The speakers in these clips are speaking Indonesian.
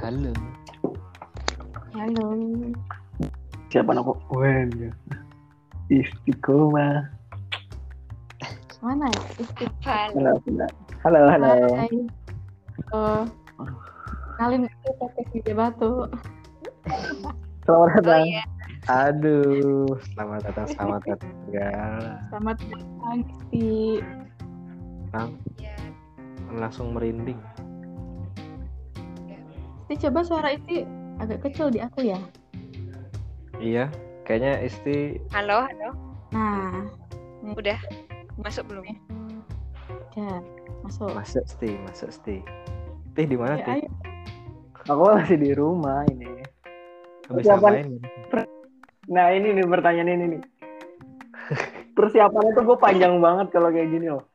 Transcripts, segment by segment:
Halo. Halo. Siapa nama? ya. Waduh. Istiqomah. Mana ya? Istiqbal. Halo, halo, halo. Hai. Eh, Kenalin aku podcast Gajah Batu. Selamat Oh datang. iya, Aduh, selamat datang, selamat datang. Ya, Selamat datang di iya. langsung merinding. Isti coba suara Isti agak kecil di aku ya. Iya, kayaknya Isti Halo, halo. Nah, Udah masuk belum? ya. Masuk. masuk Isti, masuk Isti. Tih di mana Ya, Tih? ayo. Aku masih di rumah ini. Habis Siapa? ngapain? Nah ini nih pertanyaan ini nih. Persiapannya tuh gue panjang banget kalau kayak gini loh.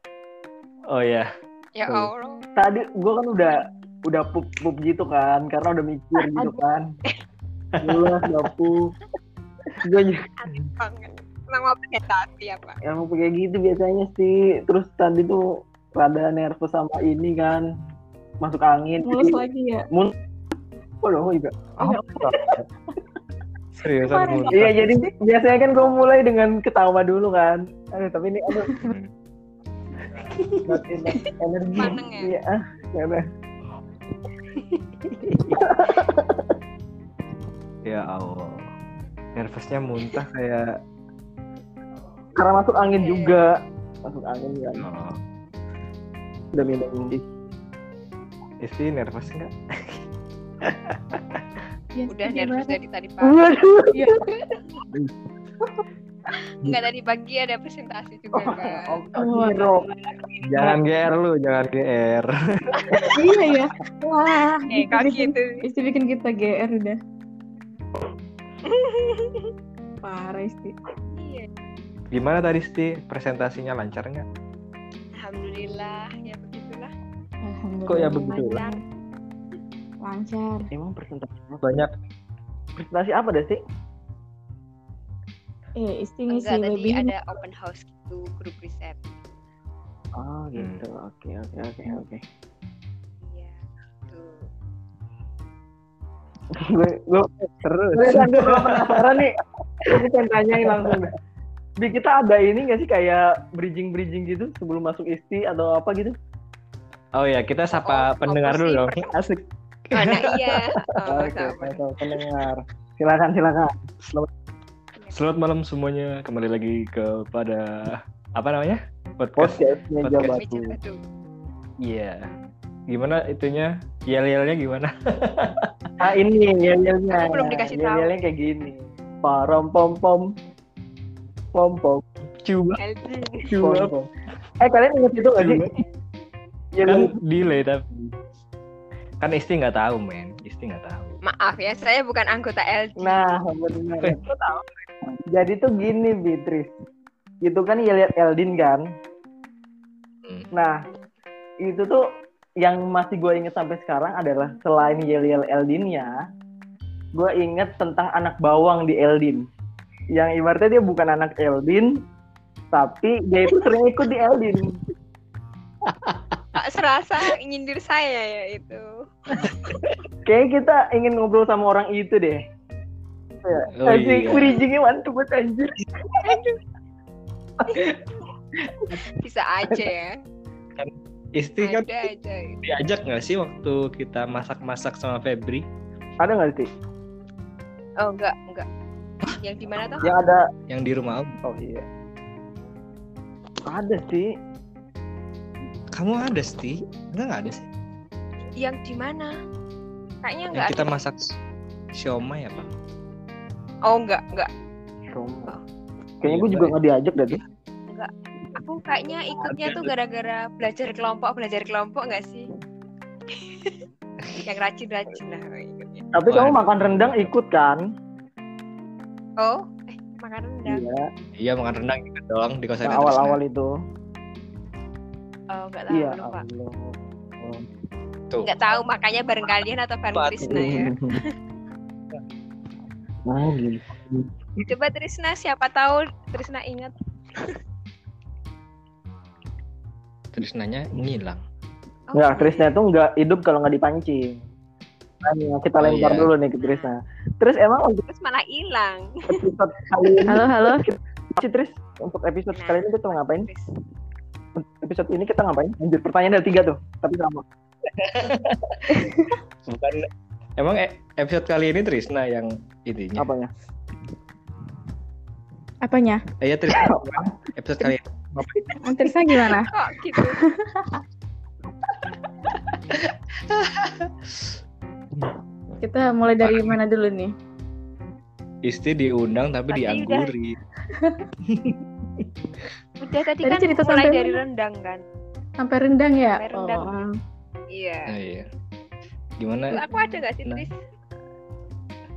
Oh ya, Ya Tuh. Allah. Tadi gue kan udah udah pup pup gitu kan, karena udah mikir gitu kan. Ulah gapu. Gue Aneh banget. Nama pakai tati ya, Pak? yang kayak gitu biasanya sih. Terus tadi tuh rada nervous sama ini kan, masuk angin. Mulus lagi ya. Waduh, juga. Agak seriusan Kemarin. muntah. Iya jadi biasanya kan gue mulai dengan ketawa dulu kan. Aduh tapi ini aduh. Not enough energi. Paneng ya? Iya. ah, karena Ya Allah. Nervousnya muntah kayak karena masuk angin Iya. juga. Masuk angin ya. oh. Udah minum. Isti nervous enggak? Ya, Udah Isti nervous gimana? dari tadi pagi. Waduh. Iya. Enggak tadi pagi ada presentasi juga, Oh, kan? Wah. Hero. Jangan GR lu, jangan GR. Iya ya. Wah. Eh, Isti kok bikin- gitu? Isti bikin kita GR udah. Parah Isti. Iya. Gimana tadi Isti? Presentasinya lancar enggak? Alhamdulillah, ya begitulah. Alhamdulillah. Kok ya begitu? Lancar. Lancar. Emang presentasi apa? Banyak Presentasi apa dah sih? Eh, Isti ngisi Enggak, tadi webinar. ada open house gitu, grup riset. Oh gitu. Oke oke oke oke. Iya. Tuh. Gue gue terus. gue kan gue penasaran nih. Gue pengen tanyain langsung. deh. Di kita ada ini gak sih kayak bridging-bridging gitu sebelum masuk isti atau apa gitu? Oh ya, kita sapa Oh, pendengar apa sih dulu dong. pertama? Asik. Oh, nah, iya. Oh, Oke, sama. oke, pendengar. Silakan, silakan. Selamat Selamat malam semuanya. Kembali lagi kepada apa namanya? Podcast. podcast meja Podcast. batu. Bicara tuh. Iya. Gimana itunya? Yel-yelnya gimana? Ah ini yel-yelnya. Aku belum dikasih tahu. Yel-yelnya kayak gini. Parom pom pom. Pom pom. Coba LG. pom, coba. pom. Eh kalian ingat itu gak sih? Yel Kan ya? delay tapi kan Isti nggak tahu men, Isti nggak tahu. Maaf ya, saya bukan anggota LG. Nah, benar. Eh. Jadi tuh gini Beatrice. Itu kan yel Eldin kan. Hmm. Nah, itu tuh yang masih gue inget sampai sekarang adalah selain yel Eldinnya, gue inget tentang anak bawang di Eldin. Yang ibaratnya dia bukan anak Eldin, tapi dia itu sering ikut di Eldin. Tak serasa nyindir saya ya itu. Kayaknya kita ingin ngobrol sama orang itu deh. Oh, Asik, iya. bridgingnya mantep banget anjir. Bisa aja ya. Isti kan Ada aja. diajak nggak sih waktu kita masak-masak sama Febri? Ada nggak sih? Oh enggak, enggak. Yang di mana tuh? Yang ada Yang di rumah Om. Oh iya. Ada sih. Kamu ada Sti? Enggak nggak ada sih. Yang di mana? Kayaknya Yang enggak kita ada. masak siomay apa? Oh enggak, enggak. Roma. Kayaknya Iya, gue juga baik. nggak diajak deh. tuh. Aku kayaknya ikutnya tuh gara-gara belajar kelompok, belajar kelompok enggak sih? yang rajin-rajin lah ikutnya. Tapi Wah, iya. kamu ada. makan rendang ikut kan? Oh, eh makan rendang. Iya. Iya makan rendang gitu doang di kosan Yang awal-awal itu. Oh, enggak tahu Iya. lupa. Allah. Tuh. Enggak tahu makanya bareng kalian atau bareng Lupa. Trisna ya. Nah, gitu. Coba Trisna siapa tahu Trisna ingat. Terus nanya ngilang. Oh, Ya, Nggak, Ya, Krisna itu nggak hidup kalau nggak dipancing. makanya kita Oh, lempar iya. dulu nih ke Trisna. Terus emang untuk terus malah hilang episode kali ini, Halo, halo. sih, Tris, untuk episode kali ini kita ngapain? Terus. Episode ini kita ngapain? Lanjut pertanyaan ada tiga tuh, tapi sama. Bukan Emang e- episode kali ini Trisna yang itunya. Apanya? Apanya? Eh, ya Trisna. episode kali ini. Trisna gimana? kok gitu Kita mulai dari mana dulu nih? Isti diundang tapi Pasti diangguri. udah tadi Tadi kan cerita mulai sampai dari mana? rendang kan Sampai rendang ya? Sampai rendang. Oh. Nah, iya iya. Gimana? aku ada nggak sih Nah. Tris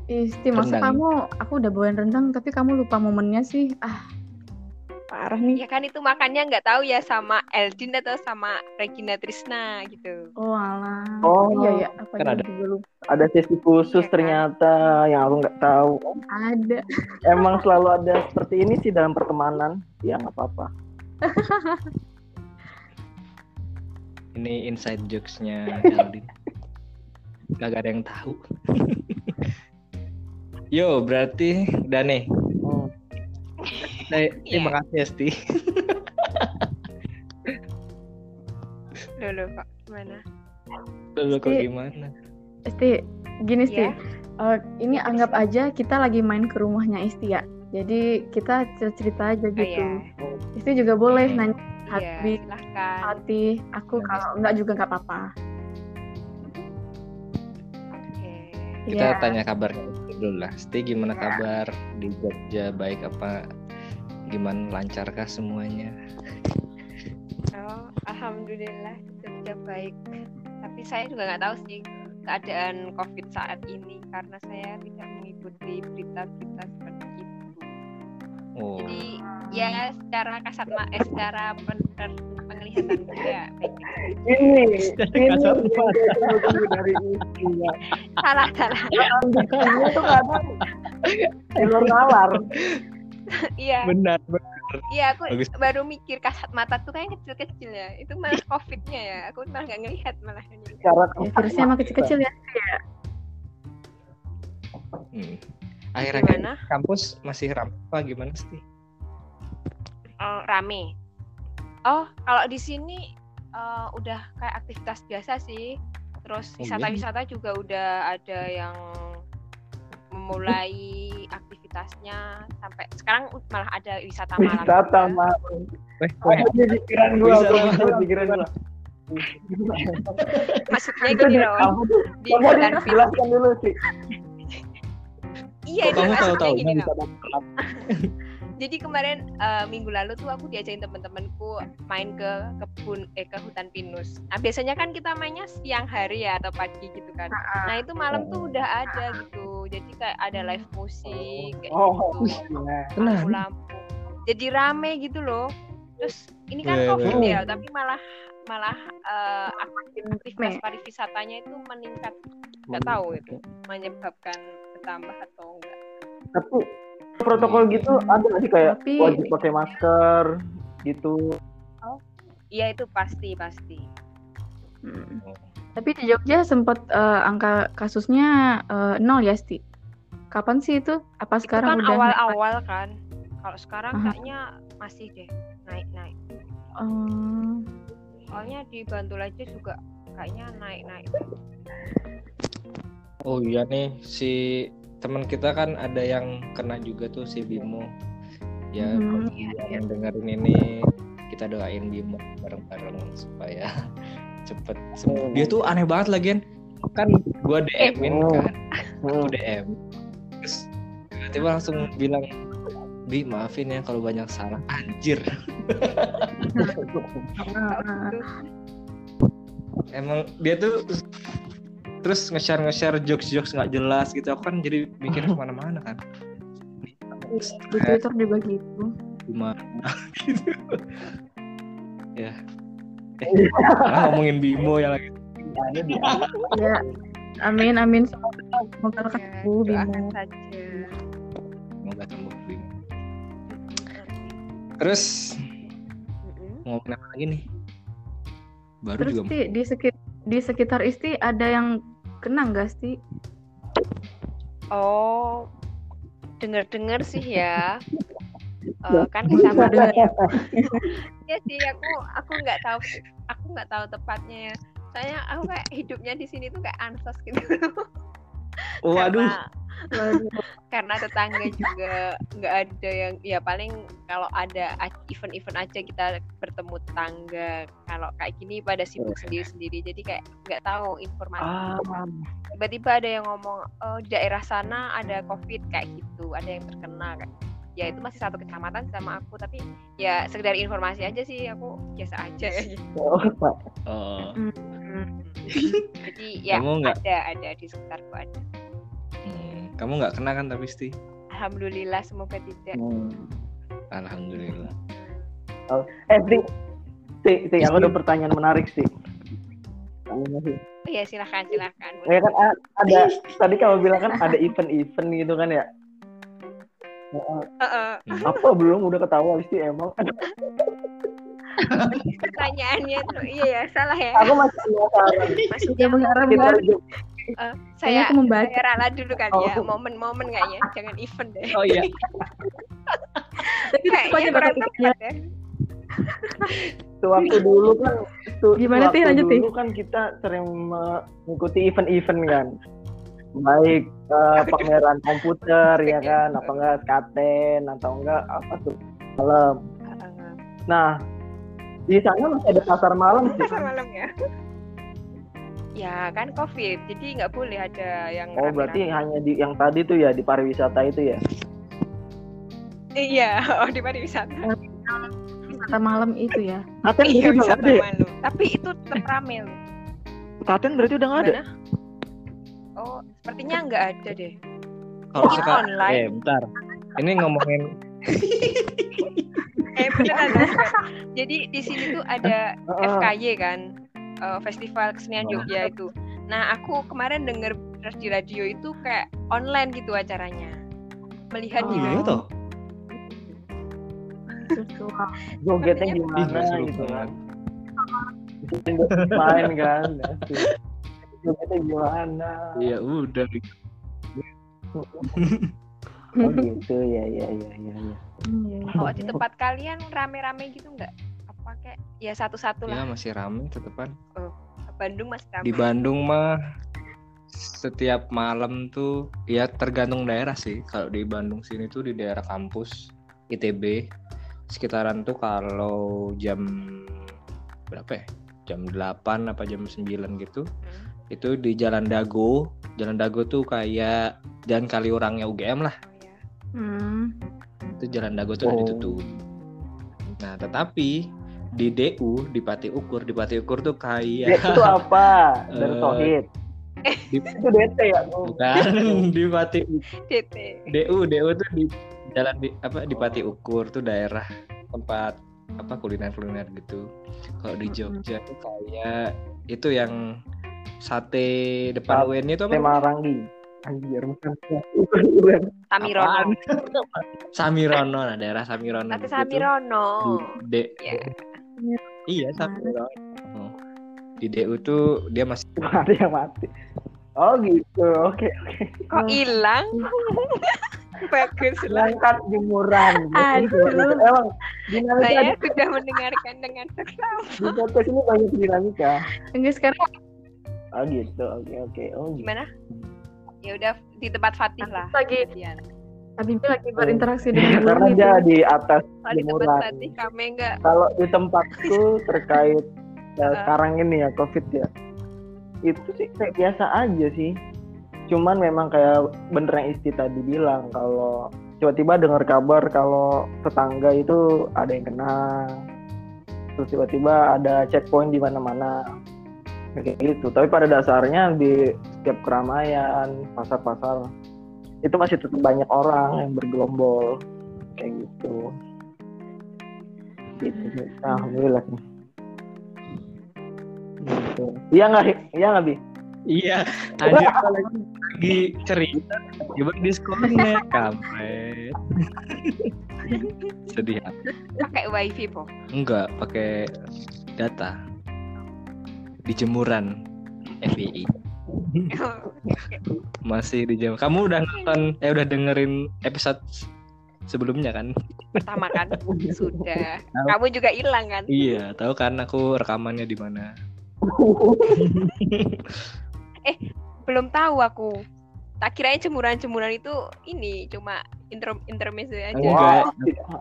Isti, masa Rendang. kamu, aku udah bawain rendang, tapi kamu lupa momennya sih. Ah, parah nih. ya kan itu makannya nggak tahu ya sama Eldin atau sama Regina Trisna gitu Oh, alah. Oh. iya, iya. Apa Kan ada. yang juga lupa? Ada sesi khusus Iya, kan? ternyata yang aku nggak tahu. Ada. Emang selalu ada seperti ini sih dalam pertemanan. Ya nggak apa-apa. Ini inside jokes-nya Aldin. Gak ada yang tahu. Yo, berarti udah nih. Hmm. Nah, Iya. Terima kasih Esti. loh loh kok gimana Lalu kok Esti. gimana? Isti, gini Isti. Iya. Eh, ini anggap aja kita lagi main ke rumahnya Isti ya. Jadi kita cerita-cerita aja oh iya gitu. Isti juga boleh Hmm. nanya iya hati, silahkan hati. Aku kalau enggak juga enggak apa-apa. oke Kita Iya. tanya kabarnya Esti dulu lah. Esti gimana Iya. kabar di Jogja? Baik apa? Gimana lancarkah semuanya? Oh, alhamdulillah Jogja baik. Tapi saya juga nggak tahu sih keadaan COVID saat ini karena saya tidak mengikuti berita-berita seperti itu. Oh, Jadi ya secara kasat mata, eh, secara pener- penglihatan saya gitu. baik. Ini, ini yang kasat saya tunggu-tunggu dari ini. Salah salah. Ini tuh kadang di luar nalar. Iya, benar. iya aku Bagus. baru mikir kasat mata tuh kayaknya kecil-kecil ya. Itu malah COVID-nya ya. Aku malah nggak ngelihat malah. Cara Ya, virusnya emang kecil-kecil ya. Hmm. Akhir-akhir Gimana? kampus masih ramai apa gimana sih? Eh, rame. Oh, kalau di sini eh, udah kayak aktivitas biasa sih. Oh, Terus iya. wisata-wisata juga udah ada yang memulai aktivitasnya sampai sekarang malah ada wisata malam. wisata juga. mah. Weh, weh. Apa di pikiran gua? Wisata Apa di malam. pikiran gua? Maksudnya Itu gini di- Iya, loh, apa di Kamu hutan harus film. jelaskan dulu sih. Kok Iya, ini kamu maksudnya tahu-tahu gini loh. kan? Jadi kemarin eh, minggu lalu tuh aku diajakin temen-temenku main ke kebun eh ke hutan pinus. Nah, biasanya kan kita mainnya siang hari ya atau pagi gitu kan. Nah, itu malam tuh udah ada gitu. Jadi kayak ada live musik kayak Oh, gitu. nah. Lampu-lampu. Jadi rame gitu loh. Terus ini kan Weh, covid weh. ya, tapi malah malah eh, aktivitas Rame. pariwisatanya itu meningkat. Nggak tahu itu menyebabkan bertambah atau enggak. Tapi protokol gitu ada nggak sih kayak Tapi- wajib pakai masker gitu. Iya, itu pasti pasti. Hmm. ya? Tapi di Jogja sempat angka kasusnya eh, nol ya, Sti. Kapan sih itu? Apa sekarang itu kan udah awal-awal kan. Kalau sekarang Aha. kayaknya masih deh naik-naik. Oh, Soalnya di Bantul aja juga kayaknya naik-naik. Oh iya nih si teman kita kan ada yang kena juga tuh si Bimo. Ya Hmm, kalau iya, yang dengerin ini kita doain Bimo bareng-bareng supaya cepet sembuh. Dia tuh aneh banget lagian. Kan gua DM-in Oh. kan, aku DM. Terus tiba-tiba langsung bilang Bi maafin ya kalau banyak salah anjir ah, ah. Terus emang dia tuh terus nge-share nge-share jokes-jokes nggak jelas gitu aku kan jadi mikirnya kemana-mana kan di Twitter juga gitu. gimana gitu ya eh, malah ngomongin Bimo yang lagi Ya, amin amin semoga semoga ya, ketemu doakan Bimo. saja. semoga sembuh Bimo terus Mm-mm. ngomongin apa lagi nih baru Terus juga Sti, di sekitar di sekitar Isti ada yang kena nggak sih? Oh, denger-denger sih ya. Eh, kan kecamatan ya. Iya sih, aku aku nggak tahu aku nggak tahu tepatnya ya. Soalnya aku kayak hidupnya di sini tuh kayak ansos gitu. Waduh, Karena- karena tetangga juga nggak ada yang ya paling kalau ada a- event-event aja kita bertemu tetangga kalau kayak gini pada sibuk Oke. sendiri-sendiri jadi kayak nggak tahu informasi Ah, tiba-tiba ada yang ngomong "Oh, di daerah sana ada covid kayak gitu ada yang terkena kayak gitu." ya itu masih satu kecamatan sama aku tapi ya sekedar informasi aja sih aku biasa aja oh, Pak. oh, jadi ya Kamu nggak- ada ada di sekitarku ada hmm, kamu nggak kena kan tapi Sti? alhamdulillah semoga tidak Alhamdulillah. eh Sri Sri, Sri, aku Sri. ada pertanyaan menarik sih oh, ya silahkan silahkan ya kan a- ada tadi kamu bilang kan ada event-event gitu kan ya Nah, Heeh. apa belum udah ketawa sih emang pertanyaannya tuh iya ya salah ya aku masih penasaran Dia maksudnya mengharap kita banget. lanjut eh, Saya saya aku membaca. saya rala dulu kan ya Oh. momen-momen kayaknya jangan event deh Oh iya. Tapi tetap aja kayaknya bakal kurang kepikiran. tepat ya waktu dulu kan tu- Gimana, Teh? waktu Lanjut, Teh. dulu kan kita sering mengikuti event-event kan baik eh, pameran komputer ya kan apa enggak skaten atau enggak apa tuh malam Heeh. nah di sana masih ada pasar malam sih pasar malam ya ya kan covid jadi nggak boleh ada yang oh rame-rame. berarti hanya di yang tadi tuh ya di pariwisata itu ya iya oh di pariwisata Wisata malam itu ya. Katen berarti iya udah nggak wisata ada ya? malam tapi itu tetap rame loh. Katen berarti udah nggak ada Gimana? oh sepertinya nggak ada deh Oh, Kalau Kita sekarang, online. eh bentar. Ini ngomongin eh beneran beneran. jadi di sini tuh ada FKY kan eh, festival kesenian Oh. Jogja itu nah aku kemarin denger terus di radio itu kayak online gitu acaranya melihat Oh, di iya iya radio. toh. Virtual. jogetnya Ih, gimana gak seru gitu kan banget. main kan jogetnya gimana Iya, udah. oh gitu ya ya ya ya ya Hmm, iya, iya. kalau oh, di tempat kalian rame-rame gitu nggak apa kayak ya satu-satu Ya lah masih rame kan? tetepan. Iya. Bandung masih rame Di Bandung mah setiap malam tuh ya tergantung daerah sih. Kalau di Bandung sini tuh di daerah kampus ITB sekitaran tuh kalau jam berapa ya? Jam 8 apa jam 9 gitu. Hmm. Itu di Jalan Dago. Jalan Dago tuh kayak jalan kali orangnya UGM lah. Oh, ya. Hmm. Itu Jalan Dago tuh udah Oh. ditutup. Nah, tetapi di DU di Pati Ukur, di Pati Ukur tuh kayak Dek, itu apa dari Ya. Eh, Tohid di- itu DT ya Oh. Bukan di Pati DT DU DU tuh di jalan di apa di Pati Ukur tuh daerah tempat apa kuliner kuliner gitu. Kalau di Jogja tuh kayak itu yang sate Sate depan UN itu apa? Teh Maranggi anjir bukan bukan Tamirono Samirono, nah daerah Samirono. tapi gitu Samirono Hmm. tuh Di, D- ya Iya Samirono. Oh. Di DU tuh dia masih ada yang mati oh gitu oke kok hilang bagus lah langkat jemuran Aduh. ya? emang dinamika saya sudah mendengarkan dengan di podcast ini banyak dinamika Enggak sekarang oh gitu oke oke oh gitu. gimana ya udah di tempat Fatih lah lagi kejadian. Habibie lagi berinteraksi dengan Ya, karena guru dia itu. di atas kalau di tempat jemuran. Fatih kami enggak Kalau di tempatku terkait eh, sekarang ini ya COVID ya, itu sih kayak biasa aja sih. Cuman memang kayak bener yang Isti tadi bilang kalau tiba-tiba dengar kabar kalau tetangga itu ada yang kena, terus tiba-tiba ada checkpoint di mana-mana kayak gitu. Tapi pada dasarnya di setiap keramaian, pasar-pasar itu masih tetap banyak orang yang bergelombol kayak gitu. Hmm. Gitu. sih. Alhamdulillah sih. Gitu. Iya nggak, Hi? iya nggak bi? Iya, ada lagi cerita tiba diskonnya kampret. Sedih pakai wifi po Enggak, pakai data. Di jemuran FPI. Masih di jam. Kamu udah nonton eh udah dengerin episode sebelumnya kan? Pertama kan sudah. Kamu juga hilang kan? Iya, tahu kan aku rekamannya di mana. Belum tahu aku. Tak kirain jemuran-jemuran itu ini cuma intro intermezzo aja. Enggak. Wah,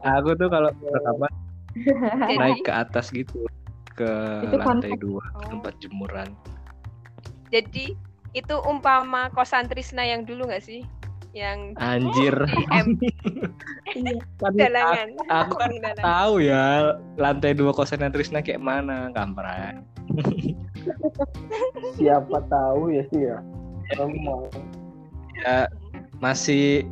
Nah, Aku tuh kalau rekaman naik Jadi, ke atas gitu ke Iya. Itu fun lantai dua ke Oh. tempat jemuran. jadi itu umpama kosan Trisna yang dulu nggak sih? Yang Anjir. Oh. di M Kan aku, dalangan. aku kan Orang dalangan. tahu ya lantai dua kosannya Trisna kayak mana kampret. siapa tahu ya sih ya. Emang. Ya, masih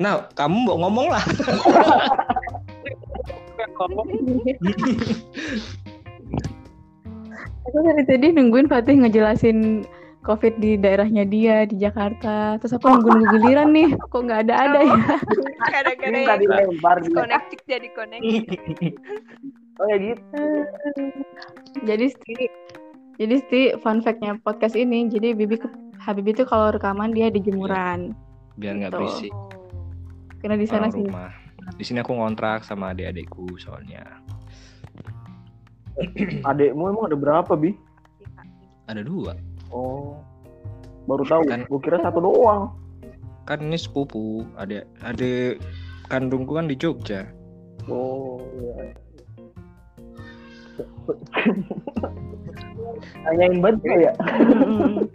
Nah, kamu mau ngomong lah. Aku dari tadi nungguin Fatih ngejelasin COVID di daerahnya dia di Jakarta. Terus aku nunggu-nunggu giliran nih, kok nggak ada-ada ya? Ini tadi Gara-gara lempar dia. connected jadi connect. Iya. Oh ya gitu. jadi Sti, jadi Sti, fun fact-nya podcast ini, jadi Bibi ke- Habibie itu kalau rekaman dia di jemuran, Biar nggak Betul. Oh, berisik karena di Oh, sana orang sih. rumah. Di sini aku ngontrak sama adik-adikku soalnya. Adekmu emang ada berapa, Bi? iya, Ada dua. Oh. Baru tahu. Kan- Gue kira satu doang. Kan ini sepupu, adik adik kandungku kan di Jogja. Oh, iya. Nanyain banget gua ya. Mm-mm.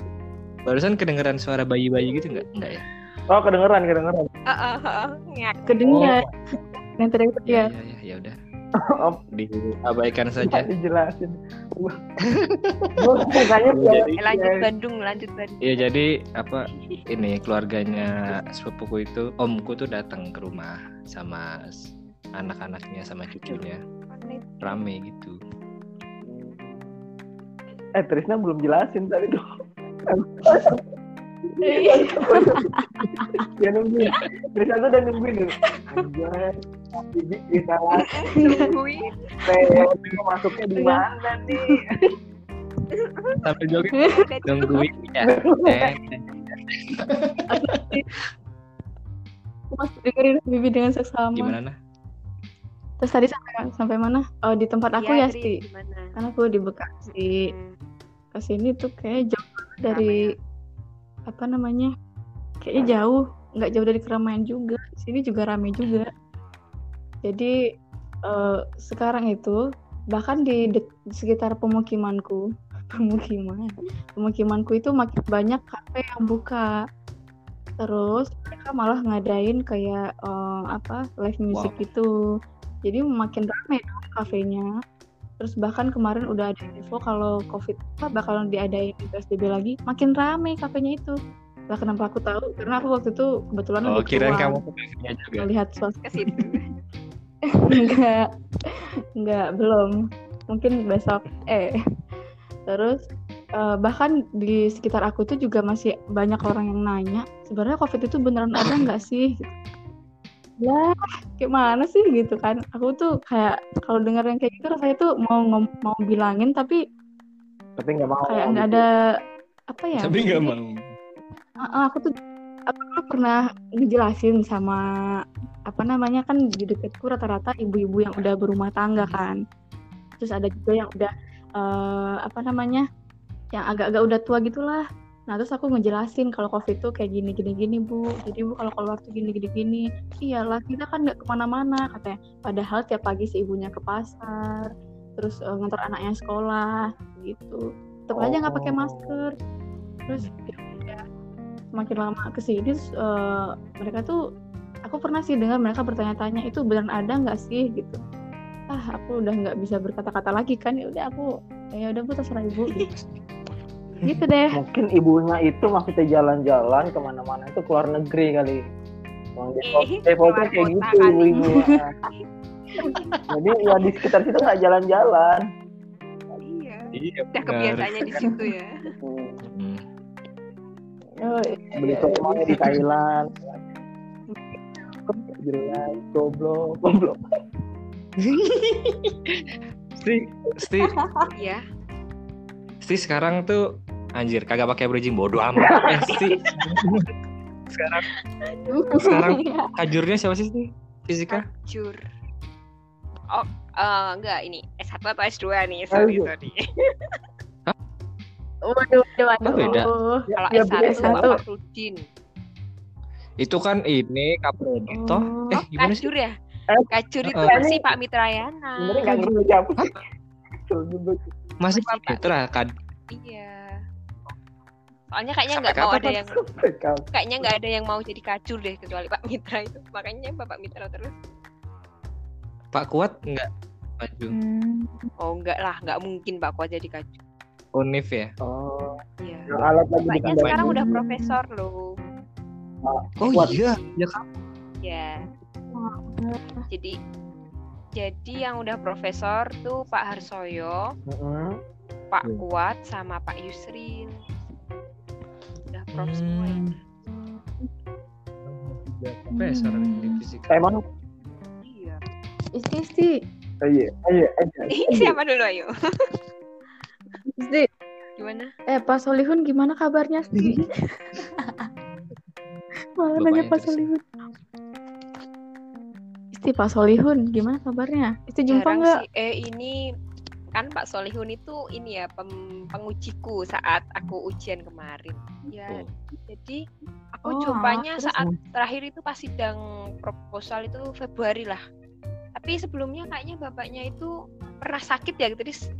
Barusan kedengeran suara bayi-bayi gitu nggak? Nggak ya? Oh, kedengeran, kedengeran. Ah, ah, ah, ngak. Kedengar yang tadi aku Iya, ya. iya, iya, ya udah. Oh, Diabaikan saja. dijelasin. Gua gua mukanya Jadi- Eh, lanjut Bandung, lanjut Bandung. Iya jadi apa ini keluarganya sepupuku itu omku tuh datang ke rumah sama s- anak-anaknya sama cucunya rame gitu. Eh, Trisna belum jelasin tadi tuh. Dia nungguin. Trisna tuh udah nungguin. tuh. Anjay, Bibi kita Nungguin. langsung masuknya Iya. di mana? Sambil joget nungguin ya. Eh, Aku masih dengerin Bibi dengan seksama. gimana nah? Terus tadi sampai sampai mana? Oh di tempat aku ya, Sti. Iya, Tri, gimana? Kan aku di Bekasi. Hmm. Ke sini tuh kayak jauh dari ya. apa namanya? Kayaknya jauh, nggak jauh dari keramaian juga. Di Sini juga rame juga. Jadi eh, sekarang itu bahkan di, dek- di sekitar pemukimanku, pemukiman, pemukimanku itu makin banyak kafe yang buka. Terus mereka malah ngadain kayak eh, apa live music Wow. gitu. Jadi makin ramai dong kafenya. Terus bahkan kemarin udah ada info kalau COVID apa, bakalan diadain PSBB lagi, makin ramai kafenya itu. Lah kenapa aku tahu? Karena aku waktu itu kebetulan Oh lagi kirain keluar, kamu punya juga. melihat suasana Ke situ. enggak enggak belum mungkin besok eh terus eh, bahkan di sekitar aku tuh juga masih banyak orang yang nanya sebenarnya covid itu beneran ada nggak sih Gitu. lah gimana sih gitu kan aku tuh kayak kalau denger yang kayak gitu rasanya tuh mau ngom- mau bilangin tapi Tapi nggak mau. gitu. kayak nggak ada apa ya Tapi nggak mau. Heeh, aku tuh aku tuh pernah ngejelasin sama apa namanya kan di deketku rata-rata ibu-ibu yang udah berumah tangga kan terus ada juga yang udah eh, apa namanya yang agak-agak udah tua gitulah nah terus aku ngejelasin kalau covid tuh kayak gini gini gini bu jadi bu kalau keluar tuh gini gini gini iyalah kita kan nggak kemana-mana katanya padahal tiap pagi si ibunya ke pasar terus eh, ngantar anaknya sekolah gitu tetap aja nggak pakai Oh. masker terus ya udah. semakin lama kesini terus, eh, mereka tuh aku pernah sih dengar mereka bertanya-tanya itu beneran ada nggak sih gitu ah aku udah nggak bisa berkata-kata lagi kan ya udah aku ya udah bu terserah ibu gitu. gitu deh Mungkin ibunya itu maksudnya jalan-jalan kemana-mana itu keluar negeri kali. Uang Depok, Ih, Depok tuh keluar kayak kota gitu kali. ibunya. Jadi ya di sekitar situ nggak jalan-jalan. Iya. Iya. Udah benar. kebiasaannya di situ ya. Hmm, Hmm. Beli tokonya di Thailand. Jelas, goblok, goblok. Sti, Sti, Iya. Sti sekarang tuh Anjir, kagak pakai bridging bodoh amat. Eh, Pasti. Sekarang Sekarang- Iya. kajurnya siapa sih ini? Fisika? Jur. Oh, eh, enggak ini S1 atau S2 nih, sorry, Aduh. sorry. waduh, waduh, Oh, beda. waduh. Kalau Ya, S1 beda. S satu. Fakhrudin. Itu kan ini kaprodi toh. Oh, Eh, gimana sih? Kajur ya? Eh, Kajur itu eh, masih Pak Mitrayana. Sebenarnya nggak ngerti siapa. Betul juga. Masih gitu Pak- Fitra kad Iya. Soalnya kayaknya Sampai nggak mau kapan, Oh, ada yang Sampai kapan? kayaknya nggak ada yang mau jadi kacur deh kecuali Pak Mitra itu. Makanya Bapak Mitra terus. Pak Kuat enggak maju Hmm. Oh enggak lah, nggak mungkin Pak Kuat jadi kacur. Unif ya. Oh, Iya. ya, alat lagi Mbaknya ditambahin. sekarang udah profesor loh. Oh Kuat. iya, ya kan. Ya. Jadi jadi yang udah profesor tuh Pak Harsoyo, Mm-mm. Pak Iya. Kuat sama Pak Yusrin. Udah prof semua Hmm. ya. Profesor ya di Hmm. Eh, fisika. Emang Iya. Isti, isti, oh, iya, iya, iya. Siapa dulu ayo? isti. Gimana? Eh, Pak Solihun gimana kabarnya, Isti? Malah Bapaknya nanya Pak terus. Solihun. Isti, Pak Solihun gimana kabarnya? Isti jumpa Jarang nggak? sih. Eh ini kan Pak Solihun itu ini ya pem- pengujiku saat aku ujian kemarin. Ya, Oh. jadi aku Iya. Oh, jumpanya terus saat terakhir itu pas sidang proposal itu Februari lah. Tapi sebelumnya kayaknya bapaknya itu pernah sakit ya, terus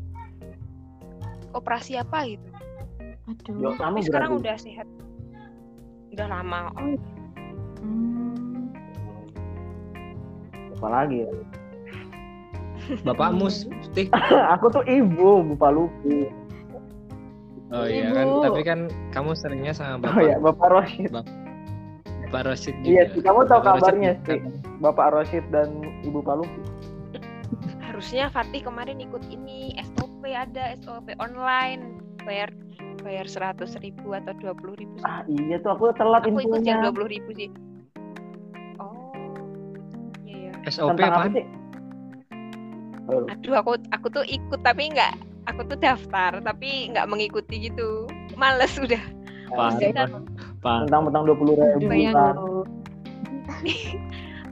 operasi apa gitu. Aduh. Yo, sama Tapi sekarang berarti. udah sehat. Udah lama. Oh, Hmm. Apa lagi ya? Bapakmu Stih. Aku tuh ibu, Bapak Lupi. Oh iya Ibu. kan, tapi kan kamu seringnya sama Oh ya, Bapak Bapak Roshid. Bapak Rosid Iya juga. sih, kamu tahu Bapak Rosid kabarnya sih. juga kan. Bapak Roshid dan Ibu Palu. harusnya Fatih kemarin ikut ini SOP ada SOP online bayar bayar seratus ribu atau dua puluh ribu Ah iya tuh aku telat aku ikut yang infonya. dua puluh ribu sih oh iya ya SOP Tentang apa apaan? sih? Oh, aduh aku aku tuh ikut tapi nggak aku tuh daftar tapi nggak mengikuti gitu males udah Apaan? Maksudnya Pak. tentang tentang dua puluh ribu kan. bayangkan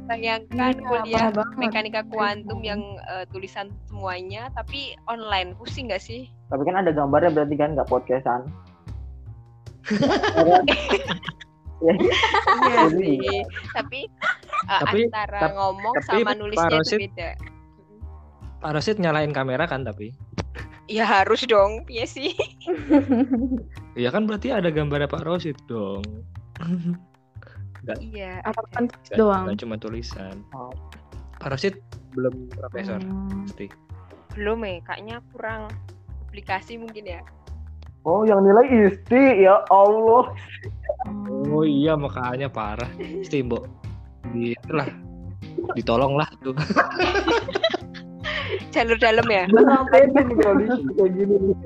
bayangkan Iya, kuliah parah banget. mekanika kuantum yang eh, tulisan semuanya tapi online pusing nggak sih Tapi kan ada gambarnya berarti kan nggak podcastan. ya, Iya Jadi, sih. Tapi, uh, Tapi- antara tap- ngomong tapi sama Pak nulisnya itu Rosid- beda. Pak Rosid nyalain kamera kan tapi. Ya harus dong, iya sih. Iya kan berarti ada gambarnya Pak Rosid dong. Iya. Apa ada. kan Nggak- doang? nggak cuma tulisan. Oh. Pak Rosid belum profesor. Hmm. Stih. Belum ya, kayaknya kurang publikasi mungkin ya. Oh, yang nilai isti ya Allah. Oh iya makanya parah. Stih, Mbok. Di itulah ditolonglah tuh. Jalur dalam ya. Belum pede nih kalau di- kayak gini. nih.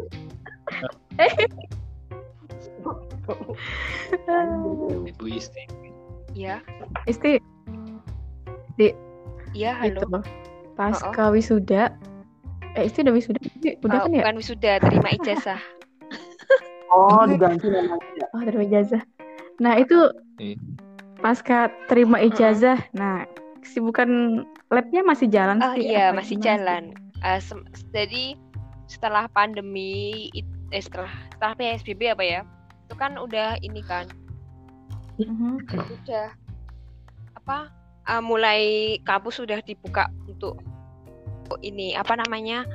Ibu Isti. Iya. Isti, Iya, halo. gitu loh. Pas ke wisuda, eh Isti udah wisuda, Isti? udah Oh, kan ya? bukan wisuda, terima ijazah. Oh, diganti namanya. Oh, terima ijazah. Nah, itu Iya. pasca terima ijazah. Nah, kesibukan labnya masih jalan Oh sih, iya, apa masih gimana jalan. sih? Eh, sem- jadi setelah pandemi, it- eh, setelah setelah PSBB apa ya? Itu kan udah ini kan, Mhm. udah apa uh, mulai kampus sudah dibuka untuk untuk ini apa namanya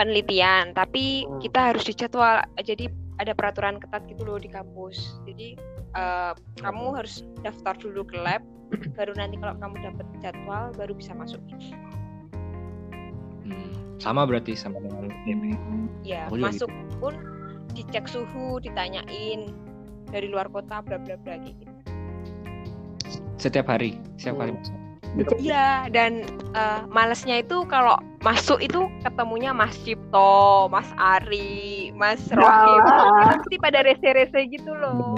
penelitian tapi Hmm. kita harus dijadwal jadi ada peraturan ketat gitu loh di kampus jadi uh, kamu Hmm. harus daftar dulu ke lab baru nanti kalau kamu dapat jadwal baru bisa masuk Hmm, Sama berarti sama dengan ini. ya Oh, iya masuk pun dicek suhu ditanyain dari luar kota bla bla bla kayak gitu Setiap hari, setiap hari. Iya, dan eh, malesnya itu kalau masuk itu ketemunya Mas Cipto, Mas Ari, Mas Rohim, pasti pada rese-rese gitu loh.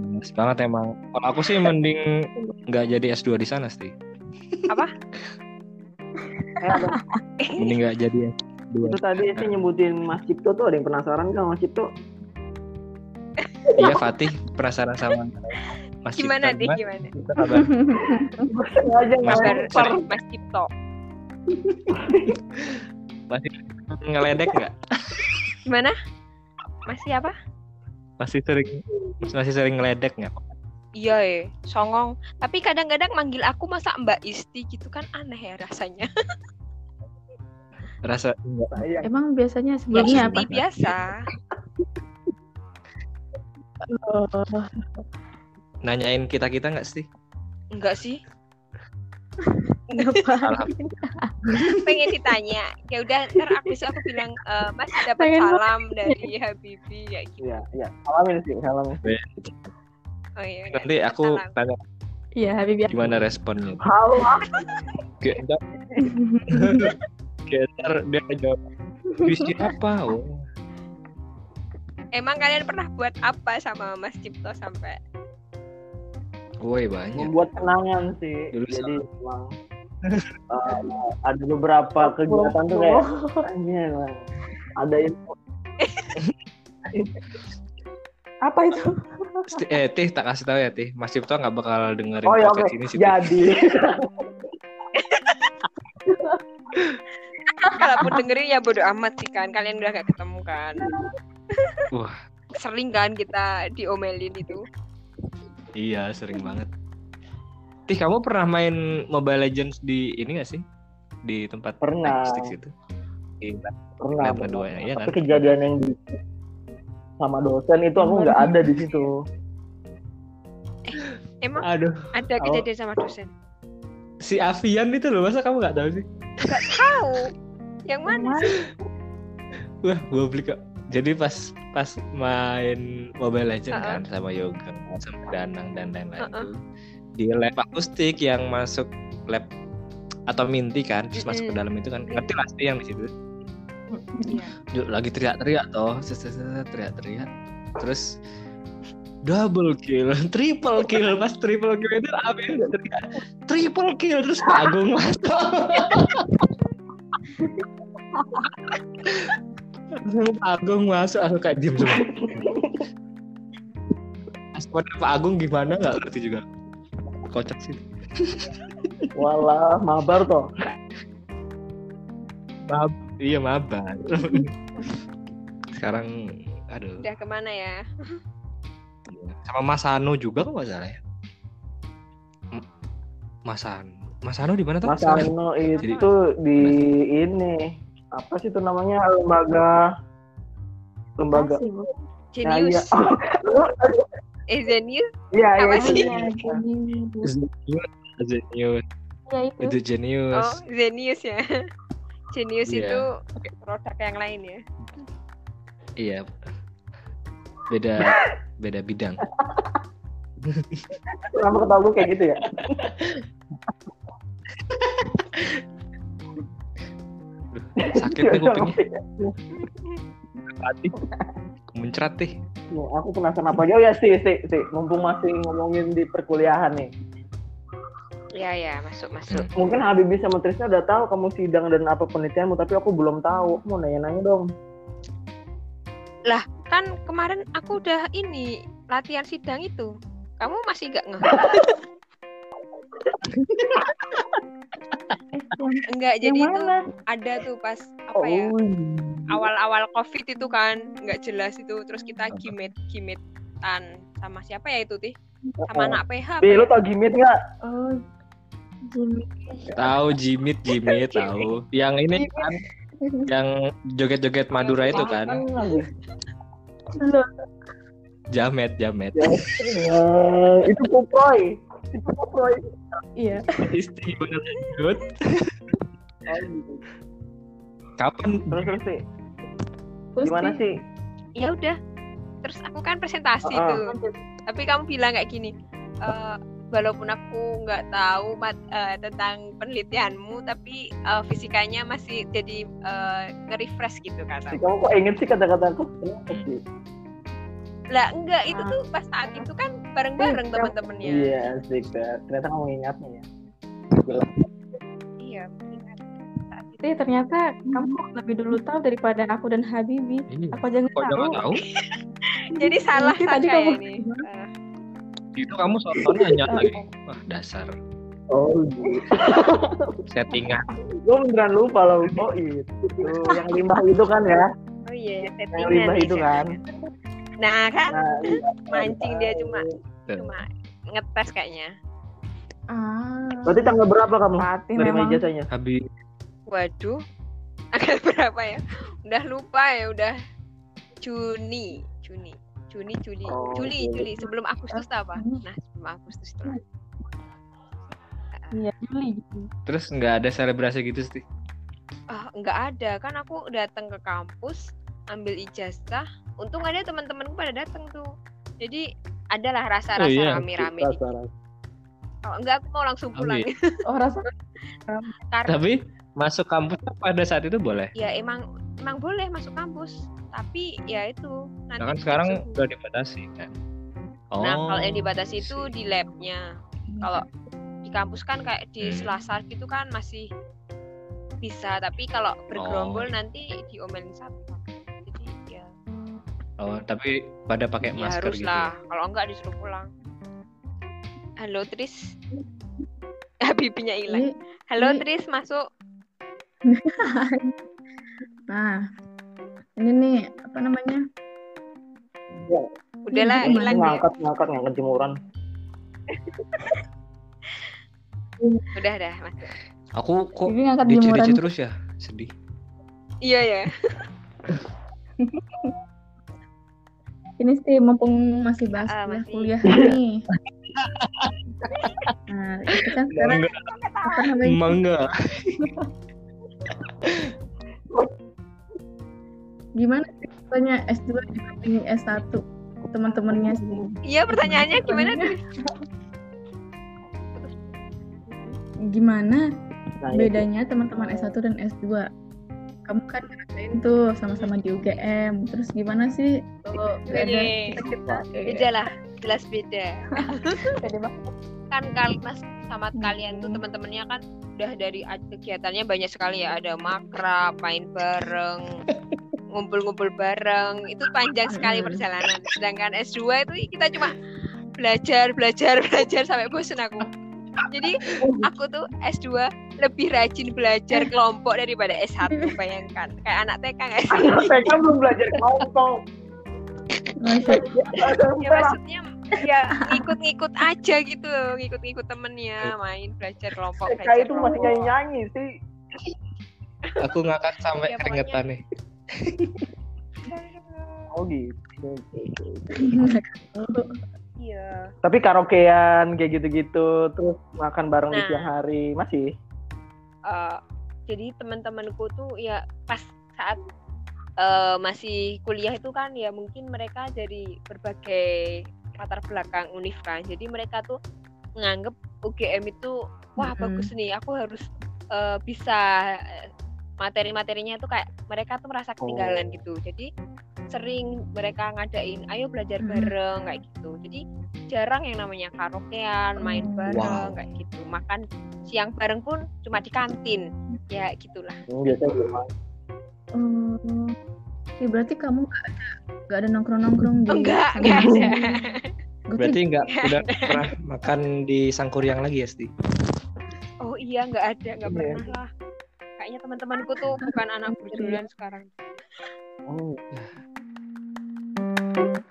Males banget emang. Kalau aku sih mending nggak jadi S2 di sana, Eh, Sti. ada- Mending nggak jadi S2. itu tadi sih nyebutin Mas Cipto tuh ada yang penasaran kan Mas Cipto? Iya Fatih penasaran sama Mas Gimana Cipta. deh, gimana? Cipta kabar? Gue sengaja Mas- Kabar Sorry. ngelempar. Mas Cipto. Masih ngeledek nggak? Gimana? Masih apa? Masih sering masih sering ngeledek nggak? Iya, eh, songong. Tapi kadang-kadang manggil aku masa Mbak Isti gitu kan aneh ya rasanya. Rasa enggak. Sayang. Emang biasanya Ya, Iya. sebelumnya Isti apa? biasa. Oh, nanyain kita kita nggak sih? Enggak sih. kenapa? Alhamdulillah. Pengen ditanya. Ya udah, ntar aku besok aku bilang eh, Mas dapat Pengen salam dari Habibi ya gitu. Iya, iya. Salamin sih, salamin. Oh iya. udah. Nanti aku Salam. tanya Iya, Habibie. gimana responnya. Halo. Kayak ntar, kayak ntar dia jawab. Bisnis apa? Oh, Emang kalian pernah buat apa sama Mas Cipto sampai woi banyak. membuat kenangan sih Iya. Dulu jadi emang eh, ada beberapa kegiatan tuh kayak Oh. anjir emang ada info apa itu Sti- Eh, Tih, tak kasih tahu ya, Tih. Mas Cipto nggak bakal dengerin oh ya oke podcast ini sih. Tih. jadi kalaupun dengerin ya bodo amat sih kan kalian udah gak ketemu kan Wah. sering kan kita diomelin itu Iya, sering banget. Tih, kamu pernah main Mobile Legends di ini nggak sih? Di tempat Pernah. Stick itu. Iya. pernah Lab kedua ya, iya tapi kan? kejadian yang di sama dosen itu aku nggak ada di situ emang Aduh, ada Tahu. kejadian sama dosen si Avian itu loh, masa kamu nggak tahu sih? tahu yang mana Wah, gue beli kok. Jadi pas pas main Mobile Legends Heeh. kan sama Yoga, sama Danang dan lain-lain Heeh. tuh. Di lab akustik yang masuk lab atau minti kan, terus masuk ke Mm-mm. dalam itu kan. Ngerti pasti yang di situ. Iya. Yuk, lagi teriak-teriak toh, set, set, set, set, teriak-teriak. Terus double kill, triple kill, pas triple kill itu Amin teriak, triple kill terus Pak Agung masuk. Terus Pak Agung masuk, aku kayak diem semua. Responnya Pak Agung gimana nggak ngerti juga. Kocak sih. walah mabar toh Mab iya mabar. Sekarang aduh. udah kemana ya sama Mas Hano juga kok nggak salah ya M- Mas Hano Mas Hano di mana tuh Mas Hano? Arno itu di ini apa sih itu namanya lembaga lembaga Masih, Bu. genius Nah, eh genius Iya, iya. Apa iya, sih? iya. Iya, Genius. Zenius Zenius Iya, itu. itu Genius oh genius ya genius Iya. itu produk yang lain ya iya beda beda bidang Kenapa ketawa gue kayak gitu ya? sakit nih kupingnya mati muncrat nih Nah, aku penasaran apa aja. Oh ya, sih, sih, sih. Mumpung masih ngomongin di perkuliahan nih. ya ya masuk masuk Mungkin Habibie sama Trisna udah tahu kamu sidang dan apa penelitianmu, tapi aku belum tahu. Aku Mau nanya-nanya dong. kan kemarin aku udah ini latihan sidang itu kamu masih gak ngeh Eh, yang- enggak yang jadi itu mana? ada tuh pas apa Oh, ya iya. awal-awal covid itu kan nggak jelas itu terus kita gimet gimetan sama siapa ya itu tih sama anak PH Oh, apa Bi, ya? lu tau gimit nggak? Oh, Jimmy. tahu Jimit Jimit tahu yang ini kan yang joget-joget Madura itu kan Makan lagi. Loh, jamet jamet Ya, eh, itu kuproy. Itu kuproy. iya. istri bener Oh, Good. gitu. kapan Terus, terus sih. Terus Gimana dia- sih? ya udah terus aku kan presentasi Ah, ah. tuh tapi kamu bilang kayak gini "Eh, walaupun aku nggak tahu mat- eh, tentang penelitianmu tapi eh, fisikanya masih jadi eh, nge-refresh gitu Si kata kamu kok inget sih kata-kata aku? Kenapa sih? lah enggak itu tuh pas saat itu kan bareng-bareng teman-temannya Iya, sih. Ternyata kamu ingatnya ya. iya mengingat saat itu. Teh, ternyata kamu lebih dulu tahu daripada aku dan Habibi. ini Aku aja nggak kok tahu. jangan tahu Jadi salah Mungkin tadi sangka ya kamu- ini. Ah. Itu kamu soalnya hanya lagi. Wah, dasar. Oh, Settingan. gue beneran lupa loh. Oh itu yang limbah itu kan ya. Oh iya, Yang settingan. limbah ya, itu kan. settingan. Nah kan Nah, iya. mancing dia cuma Tuh. cuma ngetes kayaknya. Ah, Berarti tanggal berapa kamu? berarti Terima memang ijazahnya. Habis Waduh, agak berapa ya? Udah lupa ya, udah Juni, Juni, Juni, Juli, Oh, Juli, Juli. Juli. Sebelum Agustus tuh apa? Hmm. Juni. Nah, sebelum Agustus tuh. Iya, Juli gitu. terus nggak ada selebrasi gitu sih. Ah, nggak ada kan aku datang ke kampus ambil ijazah. Untung ada teman-temanku pada datang tuh. Jadi adalah Oh, rasa-rasa iya. rame-rame. dikit. Kalau enggak aku mau langsung Oh, pulang. iya. Oh, rasa Karena Tapi masuk kampus pada saat itu boleh. ya emang emang boleh masuk kampus, tapi ya itu nanti Nah, kan sekarang subuh. udah dibatasi kan. Oh. Nah, kalau yang dibatasi sih. itu di labnya. Kalau di kampus kan kayak di Hmm. Selasa gitu kan masih bisa, tapi kalau bergerombol Oh. nanti diomelin satu. Jadi ya, Oh, tapi pada pakai ya masker gitu. haruslah. Kalau enggak disuruh pulang. Halo Tris. Habibinya hilang. Ini- Halo ini- Tris masuk. Nah, ini nih apa namanya? Ya, Udahlah Ini hilang dia. Nah, Ngangkat, ngangkat, ngangkat jemuran. Udah dah masuk. ya. Aku kok Ini ngangkat jemuran. dicuci terus ya? Sedih. Iya ya. Ini sih mumpung masih bahas Ah, masih. kuliah nih. nah, itu kan sekarang apa namanya? Mangga. Gimana sih rasanya S2 dibanding S1 teman-temannya sih? Iya pertanyaannya gimana tuh? Gimana Nah, itu. bedanya teman-teman S1 dan S2? Kamu kan ngerasain tuh sama-sama di UGM. Terus gimana sih kalau beda Wih. kita-kita? Beda lah, jelas beda. kan kalian sama Hmm. kalian tuh teman-temannya kan udah dari a- kegiatannya banyak sekali ya ada makrab main bareng ngumpul-ngumpul bareng itu panjang sekali Mm-mm. perjalanan sedangkan S2 itu kita cuma belajar belajar belajar sampai bosen aku jadi Oh, gitu. aku tuh S2 lebih rajin belajar kelompok daripada S1 bayangkan kayak anak TK nggak sih? Anak TK kan belum belajar kelompok. Masya ya maksudnya ya ngikut-ngikut aja gitu ngikut-ngikut temennya main belajar kelompok TK belajar itu masih kayak kelompok. nyanyi sih. Aku ngangkat sampai Ya, pokoknya- keringetan nih. Oh gitu. Allah. iya Tapi karaokean kayak gitu-gitu, terus makan bareng di Nah. siang hari masih. Eh, jadi teman-temanku tuh ya pas saat eh, masih kuliah itu kan ya mungkin mereka dari berbagai latar belakang univ kan jadi mereka tuh menganggap UGM itu wah Mm-mm. bagus nih aku harus eh, bisa eh, materi-materinya itu kayak mereka tuh merasa ketinggalan Oh. gitu jadi sering mereka ngadain ayo belajar Mm. bareng kayak gitu jadi jarang yang namanya karaokean main bareng Wow. kayak gitu makan siang bareng pun cuma di kantin ya gitulah Hmm, Biasanya gitu. Oh, ya berarti kamu nggak ada nggak ada nongkrong nongkrong di enggak sama enggak ada temen? Gua tuh Berarti nggak udah pernah makan di Sangkuriang lagi ya, Sti? oh iya enggak ada enggak Iya. pernah lah kayaknya teman-temanku tuh bukan anak berjualan sekarang Hmm.